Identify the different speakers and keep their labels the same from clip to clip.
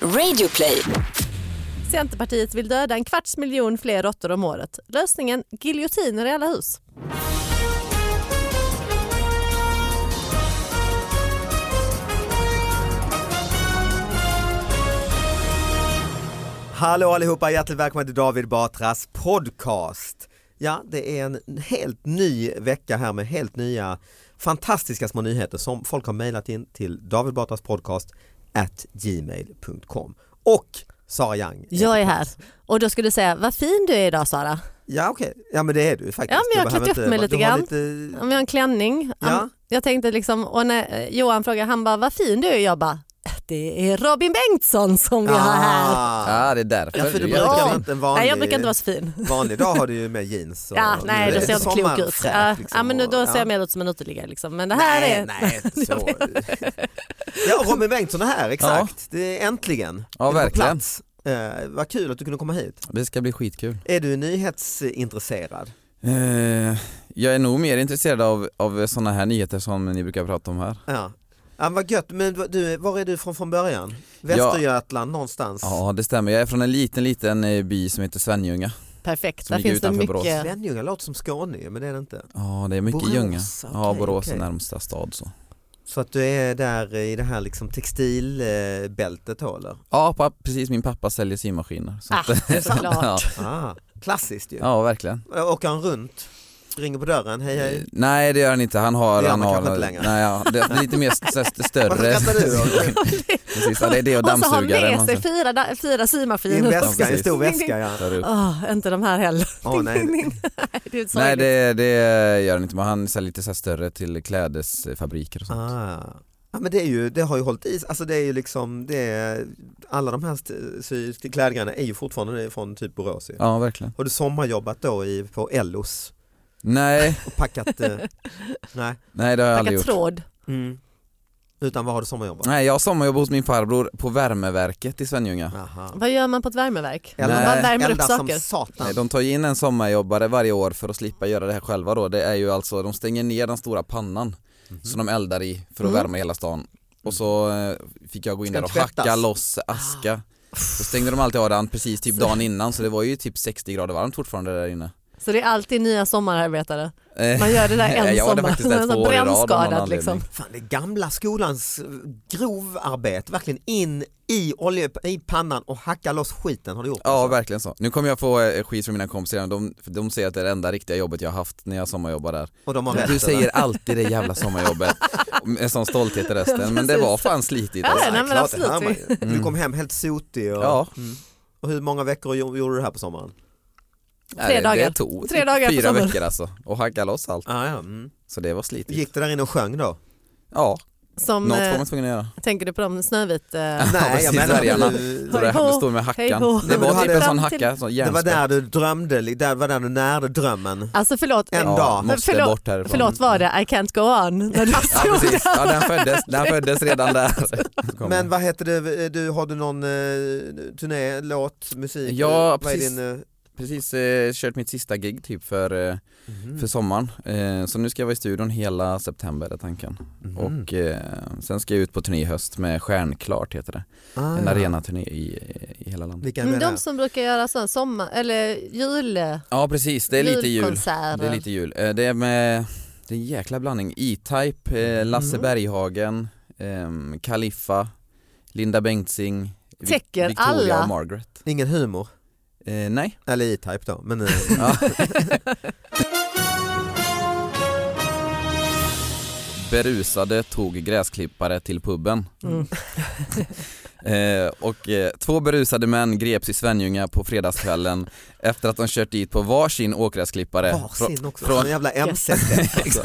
Speaker 1: Radioplay.
Speaker 2: Centerpartiet vill döda en kvarts miljon fler råttor om året. Lösningen? Giljotiner i alla hus.
Speaker 3: Hallå allihopa, hjärtligt välkomna till David Batras podcast. Ja, det är en helt ny vecka här med helt nya fantastiska små nyheter som folk har mejlat in till David Batras podcast at gmail.com och Sara Young.
Speaker 2: Jag är här. Och då skulle du säga, vad fin du är idag Sara.
Speaker 3: Ja okej, ja men det är du faktiskt.
Speaker 2: Ja, men jag
Speaker 3: Du
Speaker 2: har klätt
Speaker 3: behöver
Speaker 2: upp mig lite
Speaker 3: inte- du har
Speaker 2: grann.
Speaker 3: lite-
Speaker 2: Om jag har en klänning.
Speaker 3: Ja.
Speaker 2: Jag tänkte liksom, och när eh, Johan frågade, han bara, vad fin du är. Jag bara, det är Robin Bengtsson som vi har här.
Speaker 3: Ah,
Speaker 4: Ja, det är därför.
Speaker 3: ja, för du
Speaker 4: är jättefin.
Speaker 3: brukar inte en vanlig...
Speaker 2: Nej, jag brukar inte vara så fin.
Speaker 3: Vanlig dag har du ju med jeans och
Speaker 2: Ja, nej,
Speaker 3: nu
Speaker 2: då
Speaker 3: är
Speaker 2: ser jag
Speaker 3: det
Speaker 2: inte klok ut.
Speaker 3: sommarfräsch,
Speaker 2: Ja,
Speaker 3: liksom,
Speaker 2: ja, men då- då
Speaker 3: och-
Speaker 2: ser jag mer ut som en uteliggare. Liksom. Men det här
Speaker 3: nej,
Speaker 2: är...
Speaker 3: Nej, inte så. ja, Robin Bengtsson är här, exakt. Det är äntligen.
Speaker 4: Ja,
Speaker 3: Det är på
Speaker 4: verkligen.
Speaker 3: plats. Eh, vad kul att du kunde komma hit.
Speaker 4: Det ska bli skitkul.
Speaker 3: Är du nyhetsintresserad?
Speaker 4: Eh, jag är nog mer intresserad av, av sådana här nyheter som ni brukar prata om här.
Speaker 3: Ja. ja vad gött, men vad- du, var är du från från början? Västergötland någonstans?
Speaker 4: Ja, det stämmer. Jag är från en liten, liten eh, by som heter Svenljunga.
Speaker 2: Perfekt,
Speaker 4: Som
Speaker 2: där
Speaker 4: ligger
Speaker 2: finns det
Speaker 4: utanför
Speaker 2: mycket.
Speaker 4: Borås.
Speaker 3: Svenljunga låter som Skåne men det är det inte.
Speaker 4: Ja, det är mycket
Speaker 3: Borås,
Speaker 4: Ljunga. Ja,
Speaker 3: okej,
Speaker 4: Borås
Speaker 3: okej.
Speaker 4: är närmsta stad så.
Speaker 3: Så att du är där i det här liksom textilbältet då eller?
Speaker 4: Ja, pappa, precis. Min pappa säljer symaskiner. Så
Speaker 2: Ah,
Speaker 4: att-
Speaker 2: såklart.
Speaker 4: ja.
Speaker 3: Ah, klassiskt ju.
Speaker 4: ja, verkligen.
Speaker 3: Åker han runt? Ringer på dörren, hej hej.
Speaker 4: Nej det gör han inte, han har...
Speaker 3: Det gör
Speaker 4: han
Speaker 3: man
Speaker 4: har
Speaker 3: kanske inte längre.
Speaker 4: Nej, ja, det är lite mer st- st-
Speaker 3: Varför
Speaker 4: större.
Speaker 3: skrattar du då?
Speaker 4: Precis, ja, det är det och
Speaker 2: Och så har
Speaker 4: dammsugare.
Speaker 2: med sig fyra, da- fyra
Speaker 3: I en
Speaker 2: symaskiner.
Speaker 3: väska, i en stor
Speaker 2: Ding, ding.
Speaker 3: väska ja.
Speaker 4: Tar upp.
Speaker 2: Åh, Ah, inte de här heller.
Speaker 3: Åh, nej.
Speaker 2: Ding, ding, ding. nej, det är inte
Speaker 4: Nej
Speaker 2: sorgligt.
Speaker 4: det, det gör han inte, men han säljer lite så här större till klädesfabriker och sånt.
Speaker 3: Ah. Ja, men det, är ju, det har ju hållit i sig. alltså det är ju liksom, det är, alla de här st- sy- klädgrejerna är ju fortfarande från typ Borås. ju.
Speaker 4: Ja verkligen.
Speaker 3: Har du sommarjobbat då i, på Ellos
Speaker 4: Nej,
Speaker 3: och packat, eh, nej, Mm.
Speaker 4: nej det har jag aldrig
Speaker 2: Packa
Speaker 4: gjort.
Speaker 2: tråd.
Speaker 3: utan vad har du sommarjobbat?
Speaker 4: Nej jag har sommarjobb hos min farbror på värmeverket i Svenljunga.
Speaker 3: Aha.
Speaker 2: Vad gör man på ett värmeverk?
Speaker 3: Elda-
Speaker 2: Man bara värmer upp
Speaker 3: elda
Speaker 2: saker.
Speaker 3: som satan.
Speaker 4: Nej, de tar ju in en sommarjobbare varje år för att slippa göra det här själva då. Det är ju alltså, de stänger ner den stora pannan som de eldar i för att
Speaker 2: Mm.
Speaker 4: värma hela stan. Och så eh, fick jag gå in
Speaker 3: Ska
Speaker 4: där och
Speaker 3: tvättas.
Speaker 4: hacka loss aska. Så stängde de alltid av den precis typ dagen innan så det var ju typ 60 grader varmt fortfarande där inne.
Speaker 2: Så det är alltid nya sommararbetare.
Speaker 4: Eh,
Speaker 2: Man gör det där
Speaker 4: jag var
Speaker 2: ensam.
Speaker 4: där faktiskt där
Speaker 2: Så
Speaker 4: två år i rad av någon
Speaker 2: Brännskadad
Speaker 4: anledning.
Speaker 2: liksom.
Speaker 3: Fan, det är gamla skolans eh, grovarbete, verkligen in i, olje, i pannan och hacka loss skiten har du gjort.
Speaker 4: Ja
Speaker 2: Alltså.
Speaker 4: verkligen så. Nu kommer jag få eh, skit från mina kompisar igen. de, för de säger att det är det enda riktiga jobbet jag har haft när jag sommarjobbar där.
Speaker 3: Och de har rätt,
Speaker 4: Du
Speaker 3: eller?
Speaker 4: säger alltid det jävla sommarjobbet med sån stolthet i rösten men det
Speaker 2: Precis.
Speaker 4: var fan slitigt
Speaker 2: Ja,
Speaker 4: alltså.
Speaker 2: nej, men
Speaker 3: Klart, det hör man
Speaker 2: absolut.
Speaker 3: ju. Du kom hem helt sotig och, Mm.
Speaker 4: Ja,
Speaker 3: och hur många veckor gjo- gjorde du det här på sommaren?
Speaker 4: nej,
Speaker 2: Tre
Speaker 4: Äh, det-
Speaker 2: dagar.
Speaker 4: Det tog
Speaker 2: Tre dagar på
Speaker 4: fyra
Speaker 2: sommaren.
Speaker 4: veckor alltså och hacka loss allt.
Speaker 3: Ah, ja. mm.
Speaker 4: Så det var slitigt.
Speaker 3: Gick du där inne och sjöng då?
Speaker 4: Ja,
Speaker 2: Som,
Speaker 4: något
Speaker 2: eh,
Speaker 4: var man tvungen att göra.
Speaker 2: tänker du på dem Snövit? Eh,
Speaker 3: Nej,
Speaker 4: precis, dvärgarna.
Speaker 3: du,
Speaker 4: Så det
Speaker 2: Hej
Speaker 4: här
Speaker 2: ho,
Speaker 4: stod med
Speaker 2: hej
Speaker 4: hackan.
Speaker 2: ho.
Speaker 4: Det
Speaker 3: Men du
Speaker 4: var typ
Speaker 3: hade-
Speaker 4: en sån
Speaker 2: Fram till-
Speaker 4: hacka, sån
Speaker 3: det var
Speaker 4: järnspett.
Speaker 3: där du drömde, li- där var där du närde drömmen.
Speaker 2: alltså förlåt,
Speaker 3: En
Speaker 2: eh,
Speaker 4: Ja,
Speaker 3: dag.
Speaker 4: måste
Speaker 2: Förlåt-
Speaker 4: bort härifrån.
Speaker 2: förlåt var det I can't go on? När du
Speaker 4: Ja
Speaker 2: stod
Speaker 4: precis,
Speaker 2: där.
Speaker 4: ja, den, föddes, den föddes redan där. Kom.
Speaker 3: Men vad heter det, du, har du någon eh, turné, låt, musik?
Speaker 4: Ja,
Speaker 3: vad är
Speaker 4: precis.
Speaker 3: din, eh,
Speaker 4: precis eh, kört mitt sista gig typ för, eh,
Speaker 3: mhm.
Speaker 4: för sommaren. Eh, så nu ska jag vara i studion hela september är tanken.
Speaker 3: Mhm.
Speaker 4: Och eh, sen ska jag ut på turné i höst med Stjärnklart heter det.
Speaker 3: Ah,
Speaker 4: En
Speaker 3: ja.
Speaker 4: arenaturné i, i hela landet.
Speaker 3: Vilka är
Speaker 2: Men
Speaker 3: med
Speaker 2: Mm, de
Speaker 3: där?
Speaker 2: som brukar göra sån sommar eller jul,
Speaker 4: Ja precis, det är lite jul.
Speaker 2: julkonserter.
Speaker 4: Det är lite jul. Eh, det är med, det är en jäkla blandning. E-Type, eh, Lasse
Speaker 3: Mm.
Speaker 4: Berghagen, ehm, Kaliffa, Linda Bengtzing, Vi-
Speaker 2: Täcker
Speaker 4: Victoria
Speaker 2: alla.
Speaker 4: och Margaret.
Speaker 3: Ingen humor?
Speaker 4: Eh, nej.
Speaker 3: Eller E-Type då, men eh,
Speaker 4: Ja. Berusade tog gräsklippare till puben.
Speaker 2: Mm.
Speaker 4: Eh, och eh, två berusade män greps i Svenljunga på fredagskvällen efter att de kört dit på varsin åkgräsklippare frå-
Speaker 3: varsin också.
Speaker 4: från-
Speaker 3: Från jävla mz alltså.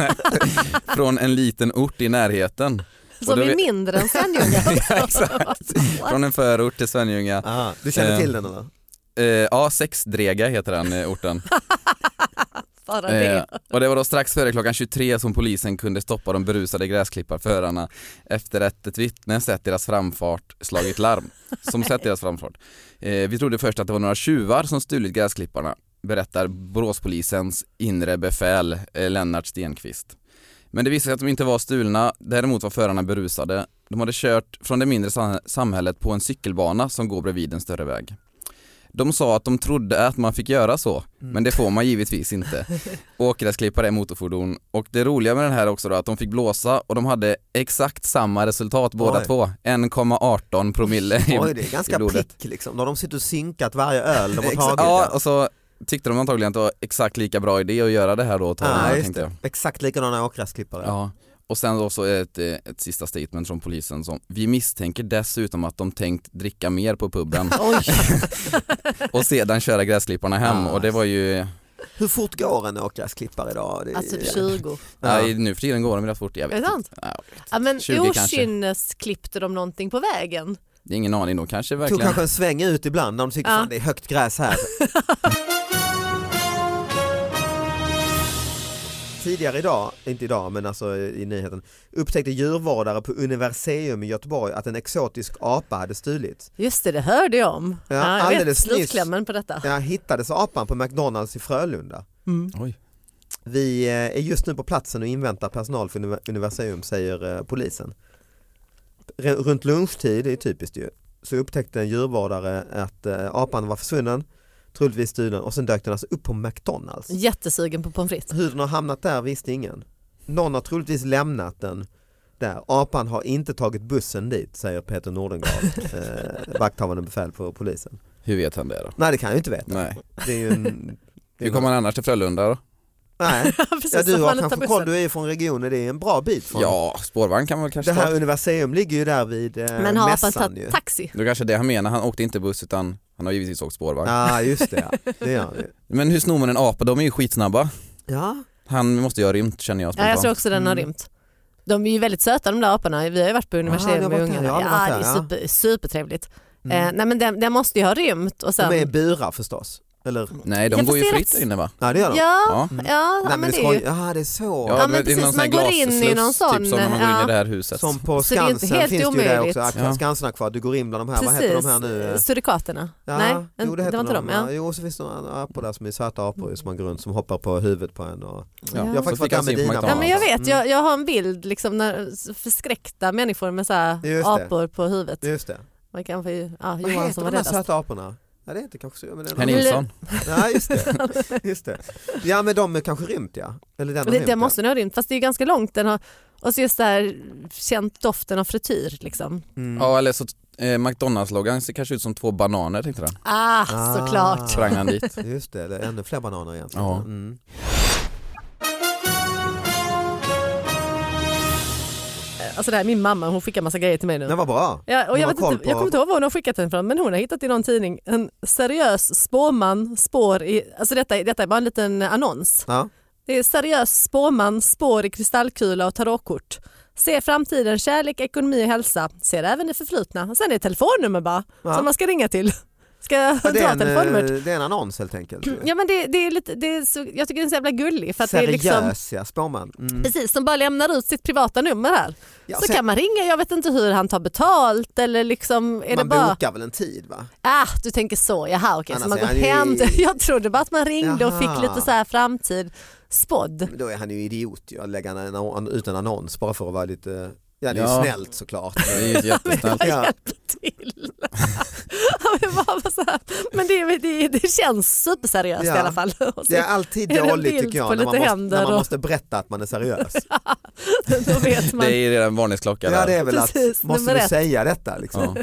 Speaker 4: från en liten ort i närheten. Och
Speaker 2: Som
Speaker 4: då
Speaker 2: är
Speaker 4: vi-
Speaker 2: mindre än Svenljunga.
Speaker 4: Exakt. Från en förort till Svenljunga.
Speaker 3: ah, Du känner
Speaker 4: Eh.
Speaker 3: till den eller?
Speaker 4: Eh, ja, Sexdrega heter den eh, orten.
Speaker 2: Bara
Speaker 4: Eh,
Speaker 2: det.
Speaker 4: och det var då strax före klockan 23 som polisen kunde stoppa de berusade gräsklipparförarna efter att ett vittne sett deras framfart slagit larm. Som sett deras framfart. Eh, vi trodde först att det var några tjuvar som stulit gräsklipparna, berättar Boråspolisens inre befäl eh, Lennart Stenqvist. Men det visade sig att de inte var stulna, däremot var förarna berusade De hade kört från det mindre sam- samhället på en cykelbana som går bredvid en större väg. De sa att de trodde att man fick göra så,
Speaker 3: Mm.
Speaker 4: men det får man givetvis inte. Åkgräsklippare är motorfordon och det roliga med den här också då att de fick blåsa och de hade exakt samma resultat båda
Speaker 3: Oj.
Speaker 4: två, 1,18 promille. i-
Speaker 3: Oj, det är ganska
Speaker 4: i blodet.
Speaker 3: prick liksom. Då har de suttit och synkat varje öl de har tagit.
Speaker 4: Exa-
Speaker 3: ja.
Speaker 4: ja, och så tyckte de antagligen att det var exakt lika bra idé att göra det här då åt honom,
Speaker 3: Ja, just
Speaker 4: tänkte jag.
Speaker 3: Exakt likadana åkgräsklippare.
Speaker 4: Ja. Och sen då så är det ett, eh, ett sista statement från polisen som Vi misstänker dessutom att de tänkt dricka mer på puben
Speaker 2: Oj.
Speaker 4: och sedan köra gräsklipparna hem
Speaker 3: Ja,
Speaker 4: och det var ju
Speaker 3: Hur fort går en åkgräsklippare idag? Det är-
Speaker 2: Alltså typ 20.
Speaker 4: Nej nu för tiden går de rätt fort, jag vet
Speaker 2: Är det sant?
Speaker 4: inte. Ja,
Speaker 2: Ja, men
Speaker 4: 20 kanske.
Speaker 2: klippte de någonting på vägen.
Speaker 4: det är ingen aning, de kanske
Speaker 3: Tog
Speaker 4: verkligen
Speaker 3: kanske en sväng ut ibland när de tyckte
Speaker 2: Ja.
Speaker 3: fan det är högt gräs här. Tidigare idag, inte idag men alltså i nyheten, upptäckte djurvårdare på Universium i Göteborg att en exotisk apa hade stulits.
Speaker 2: Just det, det hörde jag om.
Speaker 3: Ja,
Speaker 2: jag vet
Speaker 3: alldeles nyss.
Speaker 2: slutklämmen på detta.
Speaker 3: Ja, hittades apan på McDonalds i Frölunda.
Speaker 2: Mm.
Speaker 4: Oj.
Speaker 3: Vi eh, är just nu på platsen och inväntar personal för univer- Universium säger eh, polisen. R- runt lunchtid, det är typiskt ju, så upptäckte en djurvårdare att eh, apan var försvunnen, troligtvis stulen och sen dök den alltså upp på McDonalds.
Speaker 2: Jättesugen på pommes frites.
Speaker 3: Hur den har hamnat där visste ingen. Någon har troligtvis lämnat den där. Apan har inte tagit bussen dit säger Peter Nordengard, eh, vakthavande befäl på polisen.
Speaker 4: Hur vet han det då?
Speaker 3: Nej det kan jag ju inte veta.
Speaker 4: Nej.
Speaker 3: Det är ju en... det är
Speaker 4: Hur kommer han annars till Frölunda då?
Speaker 3: Nej,
Speaker 2: Precis,
Speaker 3: ja, du
Speaker 2: att man
Speaker 3: har
Speaker 2: inte tar
Speaker 3: kanske
Speaker 2: bussen.
Speaker 3: koll, du är ju från regionen, det är en bra bit från
Speaker 4: Ja, spårvagn kan man väl kanske
Speaker 3: Det här
Speaker 4: ta.
Speaker 3: universum ligger ju där vid eh,
Speaker 2: Men har apan
Speaker 3: mässan ju.
Speaker 2: tagit taxi?
Speaker 4: Då kanske det han menar, han åkte inte buss utan han har givetvis åkt spårvagn.
Speaker 3: Ja ah, just det, ja. det gör han ju.
Speaker 4: Men hur snor man en apa? De är ju skitsnabba.
Speaker 3: Ja.
Speaker 4: Han måste ju ha rymt känner jag
Speaker 2: Ja,
Speaker 4: spontant.
Speaker 2: jag tror också den har
Speaker 3: Mm.
Speaker 2: rymt. De är ju väldigt söta de där aporna. Vi har ju varit på
Speaker 3: ni har
Speaker 2: universitetet med
Speaker 3: varit där,
Speaker 2: ungarna.
Speaker 3: ja, ni har
Speaker 2: Ja,
Speaker 3: varit
Speaker 2: det
Speaker 3: där,
Speaker 2: är
Speaker 3: ja.
Speaker 2: super, supertrevligt.
Speaker 3: Mm.
Speaker 2: Eh, nej men den, den måste ju ha rymt och sen...
Speaker 3: De är i burar förstås, eller?
Speaker 4: Nej de
Speaker 2: Ja,
Speaker 4: går ju
Speaker 2: fast det är
Speaker 4: fritt
Speaker 2: rätt-
Speaker 4: där inne va?
Speaker 3: Ja det gör de.
Speaker 2: Ja,
Speaker 4: Ja.
Speaker 2: ja,
Speaker 3: Mm.
Speaker 2: ja,
Speaker 3: Nej,
Speaker 2: men det är
Speaker 3: skoj-
Speaker 2: ju...
Speaker 3: Ja det är så.
Speaker 2: Ja, men precis,
Speaker 4: någon sån här
Speaker 2: man går in i
Speaker 4: glassluss,
Speaker 2: någon sån,
Speaker 4: Typ som när man går in
Speaker 2: ja.
Speaker 4: i det här huset.
Speaker 3: Som på
Speaker 2: Så det är inte
Speaker 3: Skansen
Speaker 2: helt
Speaker 3: finns det ju det
Speaker 2: omöjligt.
Speaker 3: också, Akta
Speaker 4: Ja.
Speaker 3: Skansen har kvar, du går in bland de här, vad heter
Speaker 2: Precis,
Speaker 3: de här nu? eh?
Speaker 2: surikaterna.
Speaker 3: Ja,
Speaker 2: Nej,
Speaker 3: jo, det,
Speaker 2: det,
Speaker 3: heter
Speaker 2: var inte de. Ja. Mm.
Speaker 3: Jo, så finns det några apor där som är söta apor som man går runt som hoppar på huvudet på en. Och...
Speaker 2: Ja.
Speaker 3: Jag har faktiskt
Speaker 4: Så
Speaker 3: varit
Speaker 4: fick han
Speaker 3: där med
Speaker 4: syn på
Speaker 3: dina
Speaker 4: McDonald's.
Speaker 2: Ja, men jag vet,
Speaker 3: Mm.
Speaker 2: jag, jag har en bild liksom när så förskräckta människor med så här
Speaker 3: Just det.
Speaker 2: apor på huvudet.
Speaker 3: Mm. Just det.
Speaker 2: Man kan få ju, ja,
Speaker 3: Vad
Speaker 2: Johan
Speaker 3: heter
Speaker 2: som
Speaker 3: de
Speaker 2: var
Speaker 3: där
Speaker 2: räddast.
Speaker 3: söta aporna? Ja, det heter kanske så. Men det är
Speaker 4: Herr
Speaker 3: någon-
Speaker 4: Nilsson.
Speaker 3: Ja, just det. just det. Ja, men de är kanske rymt ja. Eller den har
Speaker 2: Det,
Speaker 3: rymt,
Speaker 2: det
Speaker 3: ja.
Speaker 2: måste nog ha rymt, fast det är ju ganska långt. Den har, och så just så här, känt doften av frityr liksom.
Speaker 3: Mm.
Speaker 4: Ja eller så eh, McDonalds-loggan ser kanske ut som två bananer tänkte han.
Speaker 2: Ah,
Speaker 3: Ah.
Speaker 2: såklart.
Speaker 4: Sprang han dit.
Speaker 3: Just det, det är ännu fler bananer egentligen.
Speaker 4: Ja.
Speaker 3: Mm.
Speaker 2: Alltså det här är min mamma, hon skickar massa grejer till mig nu.
Speaker 3: Men vad bra.
Speaker 2: Ja, och
Speaker 3: Hon
Speaker 2: jag,
Speaker 3: har
Speaker 2: vet
Speaker 3: koll
Speaker 2: inte,
Speaker 3: på-
Speaker 2: jag kommer inte ihåg var hon har skickat den från men hon har hittat i någon tidning en seriös spåman spår i, alltså detta, är- detta är bara en liten annons.
Speaker 3: Ja.
Speaker 2: Det är seriös spåman spår i kristallkula och tarotkort. Se framtiden, kärlek, ekonomi och hälsa. Ser även det förflutna. Och Sen är det telefonnummer bara
Speaker 3: Ja.
Speaker 2: som man ska ringa till. Ska jag
Speaker 3: Ja,
Speaker 2: dra
Speaker 3: det, är en,
Speaker 2: telefonnumret?
Speaker 3: eh, det är en annons helt enkelt.
Speaker 2: Ja men det, det är lite, det är så, jag tycker den är så jävla gullig för att det är
Speaker 3: Seriös
Speaker 2: liksom
Speaker 3: ja, spåman. Mm.
Speaker 2: Precis, som bara lämnar ut sitt privata nummer här.
Speaker 3: Ja,
Speaker 2: så
Speaker 3: sen-
Speaker 2: kan man ringa, jag vet inte hur han tar betalt eller liksom, är
Speaker 3: man
Speaker 2: det bara...
Speaker 3: bokar väl en tid va?
Speaker 2: Ah, du tänker så, jaha okej.
Speaker 3: Annars
Speaker 2: Så man
Speaker 3: är
Speaker 2: går
Speaker 3: han ju-
Speaker 2: hem. till- Jag trodde bara att man ringde och
Speaker 3: Jaha.
Speaker 2: fick lite så här framtid spådd.
Speaker 3: Men då är han ju idiot ju att lägga en, annon- ut en annons bara för att vara lite, ja det är
Speaker 4: Ja.
Speaker 3: ju snällt såklart.
Speaker 4: Det är ju jättesnällt.
Speaker 3: Ja.
Speaker 2: Till. Ja, men bara var så här. Men det, det, det känns superseriöst
Speaker 3: Ja.
Speaker 2: i alla fall. Och så,
Speaker 3: Det är alltid
Speaker 2: Är det en
Speaker 3: dåligt
Speaker 2: bild
Speaker 3: tycker jag
Speaker 2: på
Speaker 3: när man,
Speaker 2: lite
Speaker 3: måste,
Speaker 2: händer
Speaker 3: när man
Speaker 2: och-
Speaker 3: måste berätta att man är seriös.
Speaker 2: Då vet man.
Speaker 4: Det är redan varningsklocka
Speaker 3: ja det
Speaker 4: där.
Speaker 3: är väl att,
Speaker 2: Precis,
Speaker 3: måste
Speaker 2: nummer
Speaker 3: du
Speaker 2: ett.
Speaker 3: säga detta liksom?
Speaker 4: Ja.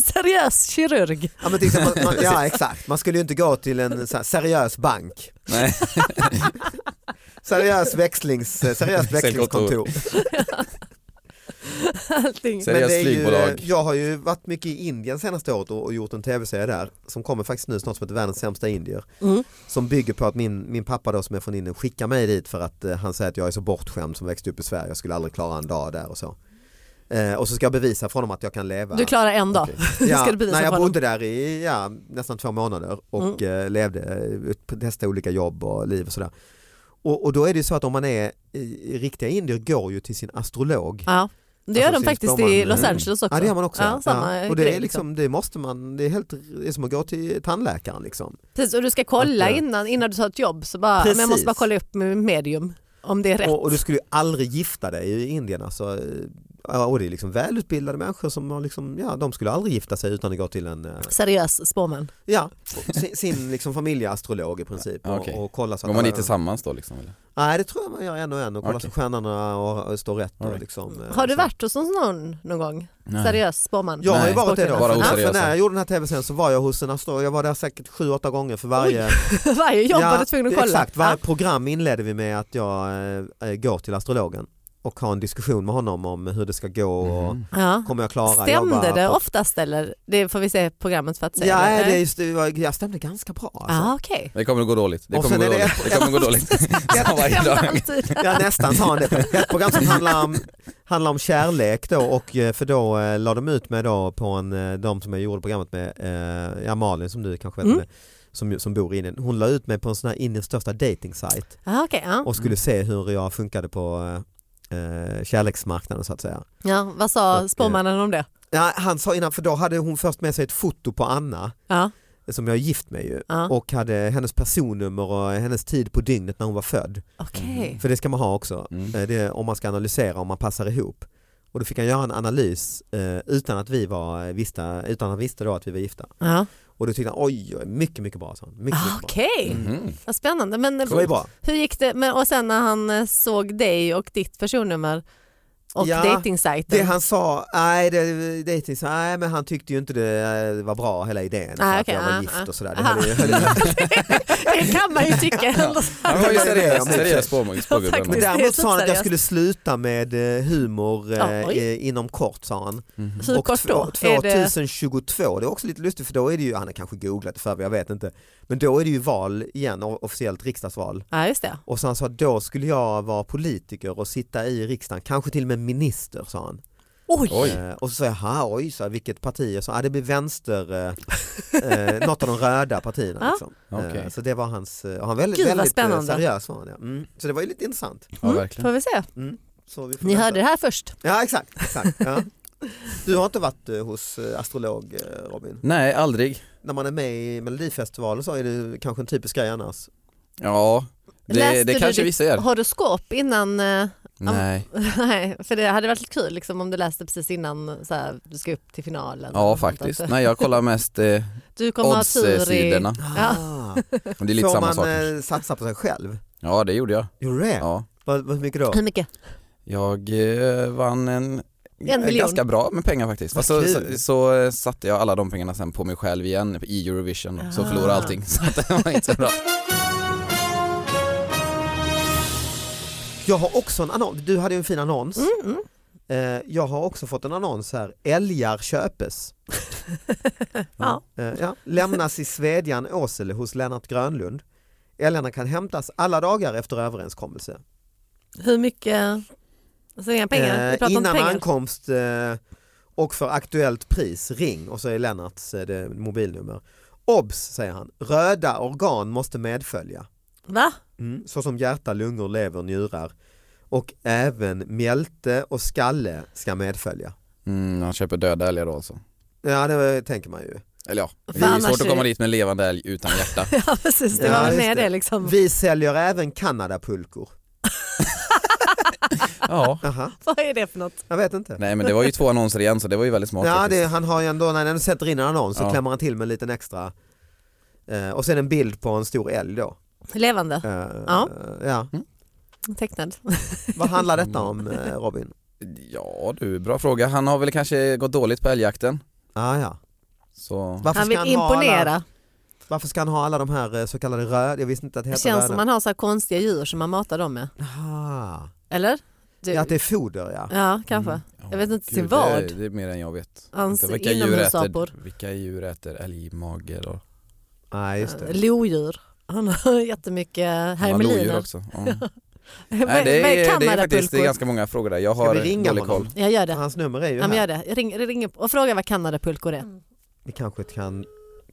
Speaker 2: Seriös kirurg.
Speaker 3: Ja, men till exempel, man, ja exakt, man skulle ju inte gå till en så här, seriös bank.
Speaker 4: Nej.
Speaker 3: Seriös växlings, seriöst växlingskontor.
Speaker 2: Allting.
Speaker 4: Seriöst
Speaker 3: det är
Speaker 4: flygbolag.
Speaker 3: Ju, jag har ju varit mycket i Indien senaste året och, och gjort en tv-serie där som kommer faktiskt nu snart som heter Världens sämsta indier.
Speaker 2: Mm.
Speaker 3: Som bygger på att min, min pappa då som är från Indien skickar mig dit för att eh, han säger att jag är så bortskämd som växte upp i Sverige, jag skulle aldrig klara en dag där och så. Eh, och så ska jag bevisa för honom att jag kan leva.
Speaker 2: Du klarar en dag.
Speaker 3: Ja,
Speaker 2: ska du bevisa
Speaker 3: nej, jag
Speaker 2: för honom. Mm.
Speaker 3: bodde där i ja, nästan två månader och eh, levde, eh, testade olika jobb och liv och sådär. Och, och då är det ju så att om man är i, i riktiga indier går ju till sin astrolog.
Speaker 2: Ja. Det gör
Speaker 3: Alltså,
Speaker 2: de
Speaker 3: syns
Speaker 2: faktiskt
Speaker 3: de
Speaker 2: i
Speaker 3: man-
Speaker 2: Los Angeles också.
Speaker 3: Ja det gör man också.
Speaker 2: Ja, samma
Speaker 3: Ja. Och det,
Speaker 2: grej,
Speaker 3: är liksom, det måste man, det är, helt, det är som att gå till tandläkaren liksom.
Speaker 2: Precis, och du ska kolla
Speaker 3: Att, eh,
Speaker 2: innan, innan du tar ett jobb. Så bara, men jag
Speaker 3: Precis.
Speaker 2: måste bara kolla upp med medium om det är rätt.
Speaker 3: Och, och du skulle ju aldrig gifta dig i Indien alltså. eh, Ja, och det är liksom välutbildade människor som har liksom, ja, de skulle aldrig gifta sig utan att gå till en, eh,
Speaker 2: Seriös spåman.
Speaker 3: ja, sin, sin liksom familjeastrolog i princip.
Speaker 4: Ja, okej.
Speaker 3: och, och kolla så
Speaker 4: Går man dit
Speaker 3: alla-
Speaker 4: tillsammans då liksom? Eller?
Speaker 3: Nej det tror jag man gör en och en och kollar
Speaker 4: Okej.
Speaker 3: så stjärnorna och, och står rätt. Och
Speaker 4: Alright.
Speaker 3: liksom, eh,
Speaker 2: Har du
Speaker 3: så.
Speaker 2: varit hos någon någon gång? Seriös spåman?
Speaker 3: Jag har ju
Speaker 4: Nej.
Speaker 3: varit det då.
Speaker 4: Bara
Speaker 3: för,
Speaker 4: oseriösa.
Speaker 3: för när jag gjorde den här tv-serien så var jag hos en astrolog, jag var där säkert sju, åtta gånger för varje
Speaker 2: Varje jobb var du tvungen att kolla.
Speaker 3: Exakt, varje program inledde vi med att jag eh, går till astrologen och har en diskussion med honom om hur det ska gå och
Speaker 4: Mhm.
Speaker 2: ja.
Speaker 3: kommer jag klara jobba
Speaker 2: Stämde det
Speaker 3: på-
Speaker 2: oftast eller? Det får vi se programmet för att se.
Speaker 3: Ja,
Speaker 2: eller? Ah.
Speaker 3: det är just, det var- jag stämde ganska bra. Alltså.
Speaker 2: Ja, okej.
Speaker 4: Det kommer att gå dåligt. Det
Speaker 3: Och
Speaker 4: kommer
Speaker 3: sen
Speaker 4: att gå
Speaker 3: är det-
Speaker 4: dåligt. Det kommer att gå dåligt. Som varje
Speaker 2: Stämde
Speaker 4: dag.
Speaker 2: alltid.
Speaker 3: Ja nästan sa han det. Ett program som handlar om, handlar om kärlek då och eh, för då eh, la de ut mig då på en, eh, de som jag gjorde programmet med, eh, ja Malin som du kanske vet
Speaker 2: Mm.
Speaker 3: med, som, ju- som bor i Indien, hon la ut mig på en sån här Indiens största dating site
Speaker 2: Ja, Ah, okej. Ja.
Speaker 3: och skulle se hur jag funkade på eh, eh, kärleksmarknaden så att säga.
Speaker 2: ja, vad
Speaker 3: Och, eh,
Speaker 2: sa spåmannen om det?
Speaker 3: Ja, han sa innan, för då hade hon först med sig ett foto på Anna
Speaker 2: Ja,
Speaker 3: som jag är gift med ju
Speaker 2: ja.
Speaker 3: och hade hennes personnummer och hennes tid på dygnet när hon var född.
Speaker 2: okej.
Speaker 3: För det ska man ha också,
Speaker 4: Mm.
Speaker 3: Eh, det är om man ska analysera om man passar ihop. Och då fick han göra en analys eh, utan att vi var eh, visste, utan att han visste då att vi var gifta.
Speaker 2: Ja.
Speaker 3: Och då tyckte han oj, oj, mycket mycket bra sa han. Mycket,
Speaker 2: Ah,
Speaker 3: mycket Mm. bra.
Speaker 2: Okej,
Speaker 3: Mm.
Speaker 4: Mhm.
Speaker 2: vad spännande. Men eh,
Speaker 3: Det var ju bra.
Speaker 2: hur gick det? Men, och sen när han eh, såg dig och ditt personnummer och
Speaker 3: Ja, Det
Speaker 2: dejtingsajten.
Speaker 3: han sa, nej det, det är så, nej men han tyckte ju inte det eh, var bra hela idén för
Speaker 2: Nej,
Speaker 3: att
Speaker 2: okej,
Speaker 3: jag var
Speaker 2: ah,
Speaker 3: gift
Speaker 2: ah.
Speaker 3: och sådär. Det
Speaker 2: Aha.
Speaker 3: höll ju- höll ju-
Speaker 2: Det kan man ju tycka.
Speaker 4: Han
Speaker 3: Det
Speaker 4: var ju
Speaker 3: är det
Speaker 4: seriös,
Speaker 3: jag menar.
Speaker 4: seriös spåman- spågubbe.
Speaker 2: faktiskt.
Speaker 3: Men
Speaker 2: Det är
Speaker 3: däremot sa han att jag
Speaker 2: seriöst.
Speaker 3: skulle sluta med eh, humor eh,
Speaker 2: Oj.
Speaker 3: eh, inom kort sa han.
Speaker 4: Mhm.
Speaker 2: Hur
Speaker 3: och
Speaker 2: kort
Speaker 3: två-
Speaker 2: då? Är det,
Speaker 3: 2022, det är också lite lustigt för då är det ju, han har kanske googlat det för jag vet inte, men då är det ju val igen, o- officiellt riksdagsval.
Speaker 2: ja, just det.
Speaker 3: Och så han sa då skulle jag vara politiker och sitta i riksdagen, kanske till och med minister sa han.
Speaker 2: Oj,
Speaker 4: Oj.
Speaker 3: Eh, och så sa jag, "Ha, oj, så här, vilket parti? Och så, ah, det blir vänster, eh, eh, något av de röda partierna.
Speaker 2: Ja.
Speaker 3: Liksom. Eh,
Speaker 4: Okej.
Speaker 3: så det var hans, eh, och han var väldigt,
Speaker 2: Gud, vad
Speaker 3: väldigt eh,
Speaker 2: spännande.
Speaker 3: seriös var han. Ja. Mm. Så det var ju lite intressant.
Speaker 4: Ja,
Speaker 2: mm,
Speaker 4: verkligen.
Speaker 2: får vi se.
Speaker 3: Mm. Så vi får
Speaker 2: Ni
Speaker 3: vänta.
Speaker 2: hörde det här först.
Speaker 3: Ja exakt, exakt. Ja. Du har inte varit eh, hos eh, astrolog eh, Robin?
Speaker 4: Nej, aldrig.
Speaker 3: när man är med i Melodifestivalen så är det kanske en typisk grej annars.
Speaker 4: Ja, det,
Speaker 2: Läste
Speaker 4: det
Speaker 2: du
Speaker 4: kanske
Speaker 2: ditt
Speaker 4: vissa gör.
Speaker 2: Horoskop innan, eh, am-
Speaker 4: Nej,
Speaker 2: nej, för det hade varit lite kul liksom, om du läste precis innan så här, du ska upp till finalen.
Speaker 4: ja
Speaker 2: Och sånt,
Speaker 4: faktiskt.
Speaker 2: att
Speaker 4: Nej, jag kollar mest eh,
Speaker 2: Du kommer ha tur i...
Speaker 4: odds-sidorna.
Speaker 2: Ja.
Speaker 3: Ah.
Speaker 4: Och Det är lite
Speaker 3: Får
Speaker 4: samma
Speaker 3: man
Speaker 4: sak.
Speaker 3: eh, satsa på sig själv?
Speaker 4: Ja, det gjorde jag.
Speaker 3: Gjorde du det?
Speaker 4: Ja.
Speaker 3: Vad, vad mycket då?
Speaker 2: Hur mycket?
Speaker 4: Jag eh, vann en, eh,
Speaker 2: En miljon.
Speaker 4: ganska bra med pengar faktiskt.
Speaker 3: Vad
Speaker 4: Fast så,
Speaker 3: kul.
Speaker 4: så, så eh, satte jag alla de pengarna sen på mig själv igen i Eurovision då, så
Speaker 2: Ah.
Speaker 4: förlorade allting. Så att det var inte så bra.
Speaker 3: Jag har också en annons, du hade ju en fin annons.
Speaker 2: Mm,
Speaker 3: Eh, Jag har också fått en annons här, älgar köpes.
Speaker 2: Ja.
Speaker 3: Eh, Ja. Lämnas i Svedjan Åsele hos Lennart Grönlund. Älgarna kan hämtas alla dagar efter överenskommelse.
Speaker 2: Hur mycket? Alltså inga pengar?
Speaker 3: Eh,
Speaker 2: Vi pratar om
Speaker 3: Innan
Speaker 2: pengar.
Speaker 3: ankomst eh, och för aktuellt pris, ring och så är Lennarts eh, det, mobilnummer. Obs säger han, röda organ måste medfölja.
Speaker 2: Va?
Speaker 3: Mm. Såsom hjärta, lungor, lever, njurar. Och även mjälte och skalle ska medfölja.
Speaker 4: Mm, han köper döda älgar då alltså.
Speaker 3: Ja det eh, tänker man ju.
Speaker 4: Eller ja, det
Speaker 2: Fan,
Speaker 4: är
Speaker 2: annars
Speaker 4: svårt
Speaker 2: är
Speaker 4: att komma
Speaker 2: det-
Speaker 4: dit med en levande älg utan hjärta.
Speaker 2: Ja precis, det
Speaker 3: Ja,
Speaker 2: var väl
Speaker 3: just
Speaker 2: med
Speaker 3: det.
Speaker 2: det liksom.
Speaker 3: Vi säljer även Kanadapulkor.
Speaker 4: Ja.
Speaker 3: Aha,
Speaker 2: Vad är det för något?
Speaker 3: jag vet inte.
Speaker 4: Nej men det var ju två annonser igen så det var ju väldigt smart
Speaker 3: Ja,
Speaker 4: faktiskt.
Speaker 3: det, han har ju ändå, när han sätter in en annons så
Speaker 4: Ja.
Speaker 3: klämmer han till med en liten extra. Eh, och sen en bild på en stor älg då.
Speaker 2: Levande,
Speaker 3: Eh,
Speaker 2: Ja.
Speaker 3: ja.
Speaker 2: tecknad.
Speaker 3: Vad handlar detta om eh, Robin?
Speaker 4: Ja du, bra fråga. Han har väl kanske gått dåligt på älgjakten.
Speaker 3: Ah, ja.
Speaker 4: Så...
Speaker 3: varför,
Speaker 2: Han
Speaker 3: ska
Speaker 2: vill
Speaker 3: han Ha alla,
Speaker 2: imponera.
Speaker 3: varför ska han ha alla de här eh, så kallade röda? Jag visste inte att det
Speaker 2: Det
Speaker 3: hette
Speaker 2: känns
Speaker 3: röda.
Speaker 2: som man har så här konstiga djur som man matar dem med.
Speaker 3: Aha.
Speaker 2: Eller? Du-
Speaker 3: Ja, att det Mm. är foder ja.
Speaker 2: Ja, kanske. Jag vet inte till
Speaker 4: Mm. Gud,
Speaker 2: vad.
Speaker 4: Det, är- det är mer än jag vet.
Speaker 2: Hans
Speaker 4: Vilka djur,
Speaker 2: inomhusapor.
Speaker 4: äter, vilka djur äter älgmager och
Speaker 3: Nej, Ah, just det.
Speaker 2: Eh, Lodjur. Han har jättemycket
Speaker 4: Han har lodjur
Speaker 2: hermeliner.
Speaker 4: också. Ja.
Speaker 2: Med,
Speaker 4: Nej, det, är, det är faktiskt det är
Speaker 2: Kanadapulkor.
Speaker 4: ganska många frågor där. Jag
Speaker 3: Ska
Speaker 4: har
Speaker 3: vi ringa
Speaker 4: dålig
Speaker 3: honom?
Speaker 4: koll.
Speaker 2: Jag gör det.
Speaker 3: Hans nummer är ju
Speaker 2: Ja, men
Speaker 3: här.
Speaker 2: gör det. Ring, ring upp och fråga vad kanadapulkor är.
Speaker 3: Vi kanske kan,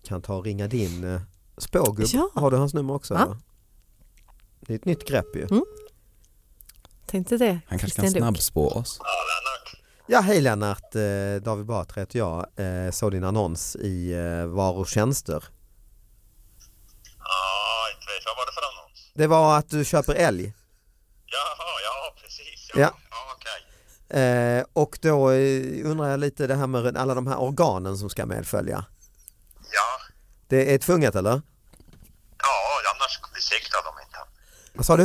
Speaker 3: kan ta och ringa din eh, spågubb.
Speaker 2: Ja.
Speaker 3: Har du hans nummer också?
Speaker 2: Ja.
Speaker 3: eller? Det är ett nytt grepp ju.
Speaker 2: Tänkte det.
Speaker 4: Han kanske kan
Speaker 2: Christian Luuk.
Speaker 4: snabbspå oss.
Speaker 3: Ja, hej Lennart. Eh, David Batra heter jag. Eh, såg din annons i eh, Varor och tjänster.
Speaker 1: Ja, inte vet jag vad det är för annons.
Speaker 3: Det var att du köper älg.
Speaker 1: Jaha, ja precis. Ja,
Speaker 3: Ja.
Speaker 1: ja okej.
Speaker 3: Eh, och då eh, undrar jag lite det här med alla de här organen som ska medfölja.
Speaker 1: Ja,
Speaker 3: Det är tvunget eller?
Speaker 1: ja annars besiktar de inte.
Speaker 3: Vad sa du?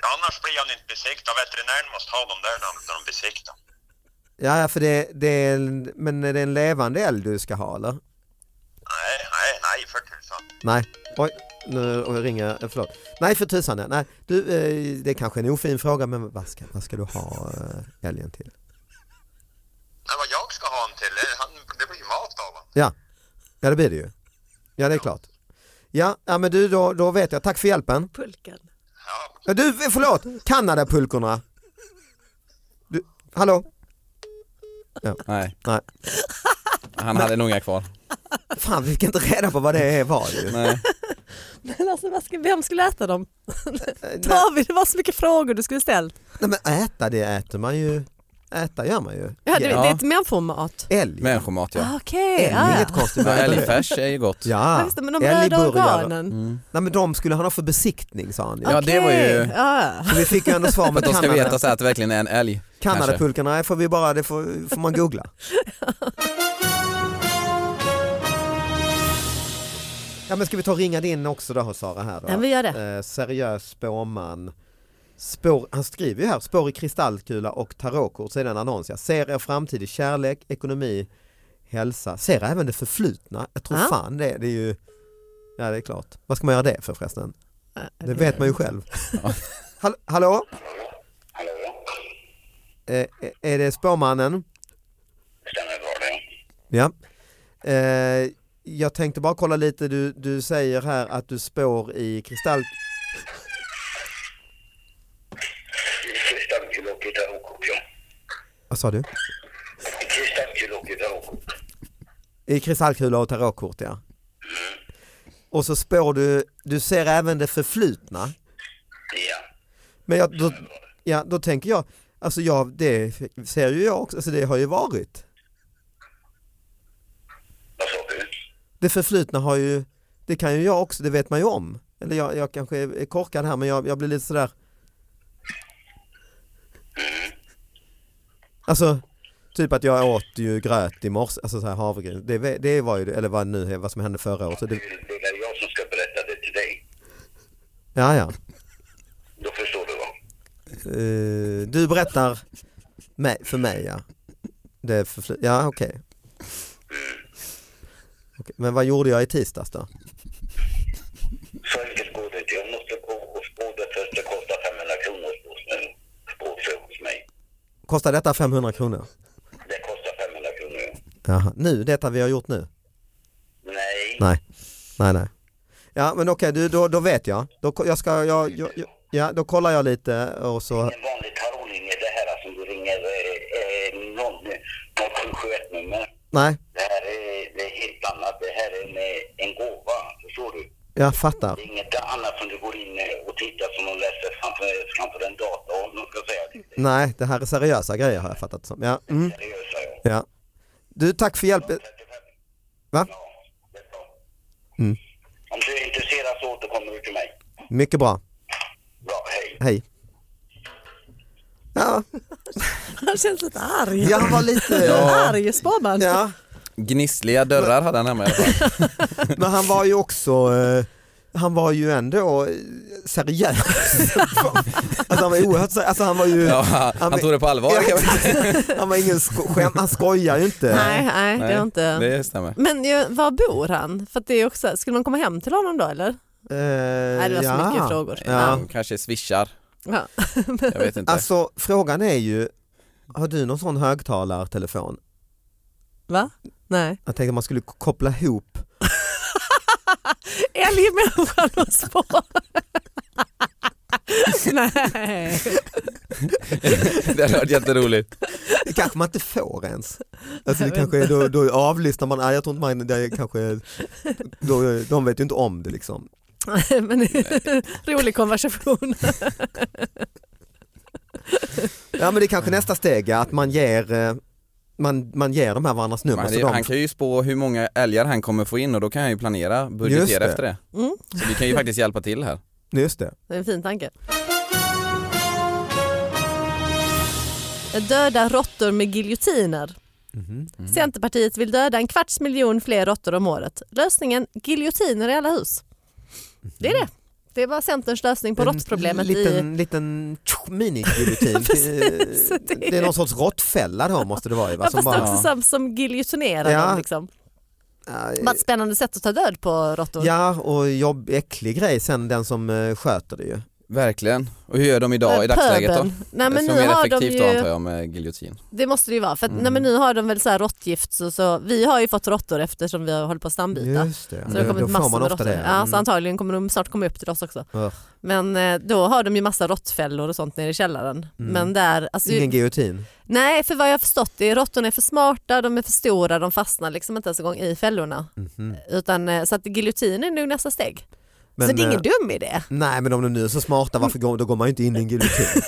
Speaker 1: Ja, annars blir han inte besiktad. Veterinären måste ha dem där när de- när de besiktar.
Speaker 3: Ja, ja, för det, det är, en- men är det en levande älg du ska ha eller?
Speaker 1: Nej, nej, nej för tusan.
Speaker 3: Nej, oj, nu ringer jag, förlåt. Nej för tusan, ja. nej. Du, eh, det är kanske en ofin fråga men vad ska, vad ska du ha eh, älgen till?
Speaker 1: Nej, vad jag ska ha honom till, eh, han, det blir ju mat av honom.
Speaker 3: Ja, ja det blir det ju. Ja det är klart. Ja, ja men du då, då vet jag, tack för hjälpen.
Speaker 2: Pulken.
Speaker 1: Ja,
Speaker 3: Ja, Du, eh, förlåt, Kanadapulkorna. Du, hallå?
Speaker 4: Nej,
Speaker 3: Nej,
Speaker 4: han hade nog inga kvar.
Speaker 3: fan vi fick inte reda på vad det är var ju.
Speaker 4: Nej.
Speaker 2: Men alltså, vad ska, vem skulle äta dem?
Speaker 3: Nej,
Speaker 2: David, det var så mycket frågor du skulle ställt.
Speaker 3: nej men äta det äter man ju, äta gör man ju.
Speaker 2: Ja, det,
Speaker 4: Ja.
Speaker 2: det är ett människomat.
Speaker 3: Älg,
Speaker 4: Människomat ja.
Speaker 2: Ah, Okej,
Speaker 3: älg,
Speaker 2: ja,
Speaker 3: inget
Speaker 2: ja.
Speaker 3: konstigt
Speaker 4: Ja,
Speaker 3: med att äta det.
Speaker 4: Älgfärs är ju gott.
Speaker 2: ja,
Speaker 3: Ja,
Speaker 2: just det, men de röda
Speaker 3: älgburgare.
Speaker 2: organen.
Speaker 3: Nej men de skulle han ha för besiktning sa han ju.
Speaker 4: Mm. Ja, det var ju-
Speaker 2: Okej, Ah. ja.
Speaker 3: Så vi fick ju ändå svar
Speaker 4: För
Speaker 3: med
Speaker 4: att de ska veta
Speaker 3: Kanada,
Speaker 4: så här att det verkligen är en älg. kanske.
Speaker 3: Kanadapulkorna, nej, får vi bara, det får, får man googla. Ja men ska vi ta och ringa din också då Sara här då?
Speaker 2: Ja, vi gör det.
Speaker 3: Eh, seriös spåman. Spår, han skriver ju här, spår i kristallkula och tarotkort, så är det en annons. Jag ser er framtid i kärlek, ekonomi, hälsa, ser även det förflutna. Jag tror
Speaker 2: Ja.
Speaker 3: fan det, det är ju, ja det är klart. Vad ska man göra det för förresten?
Speaker 2: Ja.
Speaker 3: Det vet man ju själv. Hall hallå? Eh, eh, är det spårmannen?
Speaker 1: stämmer bra det.
Speaker 3: Ja. Eh, jag tänkte bara kolla lite, du, du säger här att du spår i kristall...
Speaker 1: Kristallkul och gitarrkort, ja.
Speaker 3: Vad sa du?
Speaker 1: Kristallkul och gitarrkort.
Speaker 3: I kristallkula och tarotkort ja. Och så spår du, du ser även det förflutna.
Speaker 1: Ja.
Speaker 3: Men jag, då, ja, då tänker jag, alltså jag, det ser ju jag också, alltså det har ju varit.
Speaker 1: Vad sa du?
Speaker 3: det förflutna har ju, det kan ju jag också, det vet man ju om. Eller jag, jag kanske är korkad här men jag, jag blir lite sådär. Alltså, typ att jag åt ju gröt i morse, alltså så här havregryn. Det, ve- det var ju, det- eller vad nu, vad som hände förra året. Så det,
Speaker 1: Det är väl jag som ska berätta det till dig.
Speaker 3: ja, ja.
Speaker 1: Då förstår du va?
Speaker 3: Eh, du berättar mig, för mig ja. Det förflutna, ja okej. Okej, Men vad gjorde jag i tisdags då?
Speaker 1: Så enkelt går det inte. Jag måste gå och spå det först. Det kostar 500 kronor att spå snö. Spå snö hos mig.
Speaker 3: Kostar detta 500 kronor?
Speaker 1: Det kostar 500 kronor, ja.
Speaker 3: Jaha, nu, detta vi har gjort nu?
Speaker 1: Nej.
Speaker 3: Nej, nej, nej. Ja, men okej, du, då, då vet jag. Då, ko- jag ska, jag, jag, jag, ja, då kollar jag lite och så...
Speaker 1: En vanlig tarotlinje, det här som du ringer eh, eh, 0 0771 nummer.
Speaker 3: Nej,
Speaker 1: Det här är, det är helt annat. Det här är en, eh, en gåva, förstår du?
Speaker 3: jag fattar.
Speaker 1: Det är inget annat som du går in eh, och tittar som de läser framför, framför en dator om de ska säga det.
Speaker 3: Nej, det här är seriösa grejer har jag fattat som. Ja, mm,
Speaker 1: Det gör så jag.
Speaker 3: ja. Du, tack för hjälp.
Speaker 1: 35.
Speaker 3: Va?
Speaker 1: Ja, det är bra. Om du är intresserad så återkommer du till mig.
Speaker 3: Mycket bra.
Speaker 1: Bra, hej.
Speaker 3: Hej. Ja,
Speaker 2: Han känns lite arg.
Speaker 3: jag var lite...
Speaker 2: Arg spåman.
Speaker 3: Ja,
Speaker 4: Gnissliga dörrar hade han hemma i alla fall.
Speaker 3: men han var ju också... eh, Han var ju ändå eh, seriös. Alltså han var oerhört seriös. Alltså han var ju...
Speaker 4: Ja, han tog det på allvar. kan man säga.
Speaker 3: Han var ingen sko- skäm... Han skojar ju inte.
Speaker 2: Nej, nej, det
Speaker 4: Nej,
Speaker 2: var inte.
Speaker 4: Det stämmer.
Speaker 2: Men ju, var bor han? För att det är också, skulle man komma hem till honom då eller?
Speaker 3: Eh,
Speaker 2: Nej, det var så
Speaker 3: ja.
Speaker 2: mycket frågor.
Speaker 3: Ja.
Speaker 4: Han kanske swishar,
Speaker 2: Ja.
Speaker 4: jag vet inte.
Speaker 3: Alltså frågan är ju, har du någon sån högtalartelefon?
Speaker 2: Va? Nej.
Speaker 3: Jag tänkte man skulle k- koppla ihop.
Speaker 2: Älgmänniskan och spån. Nej.
Speaker 4: det hade varit jätteroligt.
Speaker 3: Det kanske man inte får ens. Alltså det kanske är, då, då avlyssnar man, nej jag tror inte man, det är kanske, då, de vet ju inte om det liksom.
Speaker 2: Men rolig konversation.
Speaker 3: Ja men det är kanske nästa steg, ja, att man ger, eh, man, man ger de här varandras nummer.
Speaker 4: Man,
Speaker 3: så
Speaker 4: han
Speaker 3: de,
Speaker 4: kan ju spå hur många älgar han kommer få in och då kan han ju planera, budgetera
Speaker 3: det.
Speaker 4: efter det.
Speaker 2: Mm,
Speaker 4: Så vi kan ju faktiskt hjälpa till här.
Speaker 3: just det.
Speaker 2: Det är en fin tanke. Döda råttor med giljotiner. Mm-hmm.
Speaker 3: Mm.
Speaker 2: Centerpartiet vill döda en kvarts miljon fler råttor om året. Lösningen giljotiner i alla hus. Det är det. Det var Centerns lösning på råttproblemet. I...
Speaker 3: Mm. Liten, liten tjo, minigiljotin.
Speaker 2: precis.
Speaker 3: det, är någon sorts råttfälla då måste det vara ju. va,
Speaker 2: Ja,
Speaker 3: som
Speaker 2: fast det är
Speaker 3: bara-
Speaker 2: också som, som giljotinerar
Speaker 3: Ja.
Speaker 2: dem. Liksom.
Speaker 3: Ja,
Speaker 2: Bara ett spännande sätt att ta död på råttor.
Speaker 3: Ja och jobb, äcklig grej sen den som eh, sköter det ju.
Speaker 4: Verkligen. Och hur gör de idag i dagsläget då?
Speaker 2: Eh, Pöbeln. Nej, men
Speaker 4: det
Speaker 2: nu
Speaker 4: är mer
Speaker 2: har de
Speaker 4: effektivt då antar
Speaker 2: ju,
Speaker 4: jag Mm. med giljotin.
Speaker 2: det måste det ju vara, för att, nej, men nu har de väl så här råttgift så, så vi har ju fått råttor eftersom vi har hållit på att stambita.
Speaker 3: Just det,
Speaker 2: Så det har
Speaker 3: då
Speaker 2: kommit
Speaker 3: får
Speaker 2: massor
Speaker 3: man
Speaker 2: med
Speaker 3: ofta
Speaker 2: råttor.
Speaker 3: det.
Speaker 2: Ja, så
Speaker 3: Mm.
Speaker 2: antagligen kommer de snart komma upp till oss också.
Speaker 3: Ugh.
Speaker 2: Men eh, då har de ju massa råttfällor och sånt nere i källaren. Men där, alltså,
Speaker 3: Mm. Ingen giljotin.
Speaker 2: nej för vad jag har förstått det, är råttorna är för smarta, de är för stora, de fastnar liksom inte ens en gång i fällorna. Utan, eh, så att giljotin är nog nästa steg. så
Speaker 3: Mhm. Men,
Speaker 2: det är ingen
Speaker 3: eh,
Speaker 2: dum idé.
Speaker 3: Nej men om de nu är så smarta, varför går, då går man ju inte in i en giljotin.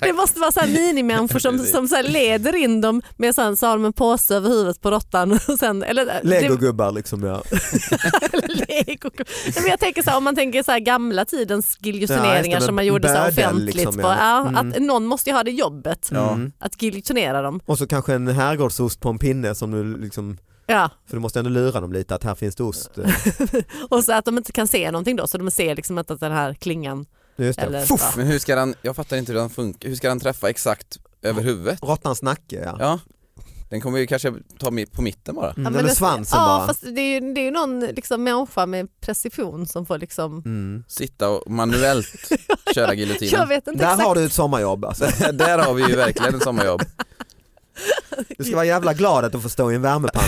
Speaker 2: Det måste vara så här minimänniskor som,
Speaker 4: Precis.
Speaker 2: som så här leder in dem med sen så har de en påse över huvudet på råttan. och sen- eller-
Speaker 3: Legogubbar liksom ja.
Speaker 2: det- Lego. Nej, Men jag tänker så här, om man tänker så här gamla tidens
Speaker 3: Ja, just det,
Speaker 2: giljotineringar
Speaker 3: med
Speaker 2: som man gjorde så här
Speaker 3: bödel
Speaker 2: offentligt.
Speaker 3: liksom,
Speaker 2: på,
Speaker 3: ja.
Speaker 2: ja,
Speaker 3: Mm.
Speaker 2: att någon måste ju ha det jobbet
Speaker 3: Mm.
Speaker 2: att giljotinera dem.
Speaker 3: Och så kanske en herrgårdsost på en pinne som du liksom,
Speaker 2: Ja.
Speaker 3: för du måste ändå lura dem lite att här finns det ost.
Speaker 2: Mm. Och så att de inte kan se någonting då så de ser liksom inte att den här
Speaker 3: Mm,
Speaker 2: klingan
Speaker 3: Just det.
Speaker 2: eller
Speaker 3: Fuff,
Speaker 2: ja.
Speaker 4: Men hur ska den, jag fattar inte hur den funkar, hur ska den träffa exakt över huvudet?
Speaker 3: Råttans nacke ja.
Speaker 4: Ja, den kommer ju kanske ta mi- på mitten bara.
Speaker 3: Mm,
Speaker 2: men
Speaker 3: eller
Speaker 2: det-
Speaker 3: svansen
Speaker 2: ja,
Speaker 3: bara.
Speaker 2: fast det är ju det är ju någon liksom människa med precision som får liksom,
Speaker 3: Mm.
Speaker 4: Sitta och manuellt köra
Speaker 2: jag
Speaker 4: giljotinen.
Speaker 2: vet inte
Speaker 3: Där
Speaker 2: exakt.
Speaker 3: har du ett sommarjobb alltså.
Speaker 4: Där har vi ju verkligen ett sommarjobb.
Speaker 3: Du ska vara jävla glad att du får stå i en värmepanna.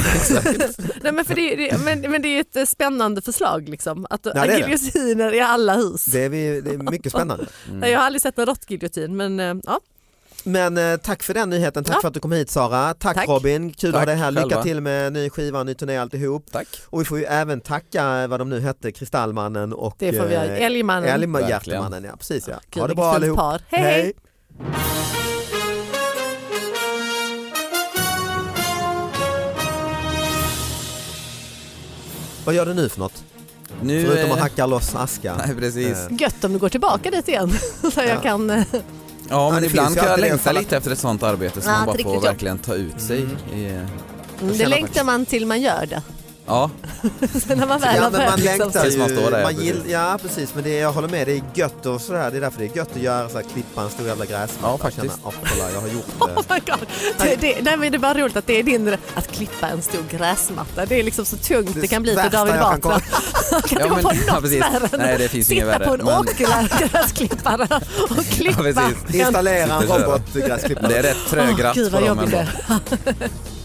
Speaker 2: Nej, men, för det, är- det, men, men det är ju ett eh, spännande förslag liksom. Att
Speaker 3: det är det.
Speaker 2: giljotiner i alla hus.
Speaker 3: Det är, vi, det är mycket spännande.
Speaker 2: Nej, Jag har aldrig sett en råttgiljotin men eh, ja.
Speaker 3: Men eh, tack för den nyheten, tack
Speaker 2: Ja.
Speaker 3: för att du kom hit Sara. Tack,
Speaker 2: Tack.
Speaker 3: Robin, kul att ha
Speaker 4: Tack
Speaker 3: dig här. Lycka
Speaker 4: själva.
Speaker 3: till med ny skiva, ny turné alltihop.
Speaker 4: Tack.
Speaker 3: Och vi får ju även tacka eh, vad de nu hette, Kristallmannen och
Speaker 2: Det får vi göra.
Speaker 3: eh,
Speaker 2: Älgmannen.
Speaker 3: Älgma-
Speaker 4: Verkligen.
Speaker 3: Hjärtemannen. Ja, precis, ja.
Speaker 2: Gud,
Speaker 3: Ha det
Speaker 2: vilket
Speaker 3: bra
Speaker 2: fint
Speaker 3: allihop.
Speaker 2: par. Hej, hej.
Speaker 3: Vad gör du nu för något?
Speaker 4: Nu,
Speaker 3: Förutom att
Speaker 4: eh,
Speaker 3: hacka loss aska?
Speaker 4: Nej precis.
Speaker 3: Eh,
Speaker 2: Gött om du går tillbaka dit igen. Så jag kan, eh,
Speaker 4: Ja men
Speaker 3: det finns
Speaker 4: ibland
Speaker 3: ju
Speaker 4: kan jag
Speaker 3: alltid det
Speaker 4: längta
Speaker 3: fallet.
Speaker 4: lite efter ett sånt arbete som
Speaker 2: Ja,
Speaker 4: man
Speaker 2: ett
Speaker 4: bara
Speaker 2: riktigt
Speaker 4: får
Speaker 2: jobb.
Speaker 4: verkligen ta ut sig
Speaker 3: Mm.
Speaker 4: i.
Speaker 2: det längtar man till man gör det.
Speaker 4: Ja,
Speaker 2: Sen när man väl
Speaker 3: Ja
Speaker 2: har
Speaker 3: men man
Speaker 2: börjat. Liksom.
Speaker 3: längtar
Speaker 4: Tills
Speaker 3: ju.
Speaker 4: man står där,
Speaker 3: man
Speaker 4: ja,
Speaker 3: gill,
Speaker 4: precis.
Speaker 3: ja precis men det, jag håller med, det är gött och sådär. Det är därför det är gött att göra så här, klippa en stor jävla gräsmatta.
Speaker 4: Ja,
Speaker 3: och
Speaker 4: faktiskt.
Speaker 3: Känna, "Ah, kolla, jag har gjort det.
Speaker 2: Oh my God. Det, det, nej, men det är bara roligt att det är din att klippa en stor gräsmatta. Det är liksom så tungt det, kan bli för
Speaker 3: värsta
Speaker 2: David
Speaker 3: jag kan
Speaker 2: Batra.
Speaker 3: komma-
Speaker 2: Han kan
Speaker 4: Ja,
Speaker 2: inte
Speaker 4: men-
Speaker 2: komma på
Speaker 4: ja,
Speaker 2: något
Speaker 4: precis.
Speaker 2: värre än
Speaker 4: Nej,
Speaker 2: att
Speaker 4: det finns inget
Speaker 2: sitta
Speaker 4: värre,
Speaker 2: på en
Speaker 4: men-
Speaker 2: åkergräsklippare och klippa.
Speaker 4: precis.
Speaker 2: en-
Speaker 3: Installera en
Speaker 4: Sitter och köra.
Speaker 3: robotgräsklippare.
Speaker 4: det är rätt trögrat
Speaker 2: Åh, Gud
Speaker 4: på
Speaker 2: vad
Speaker 4: dem
Speaker 2: jobbigt
Speaker 4: ändå.
Speaker 2: det är.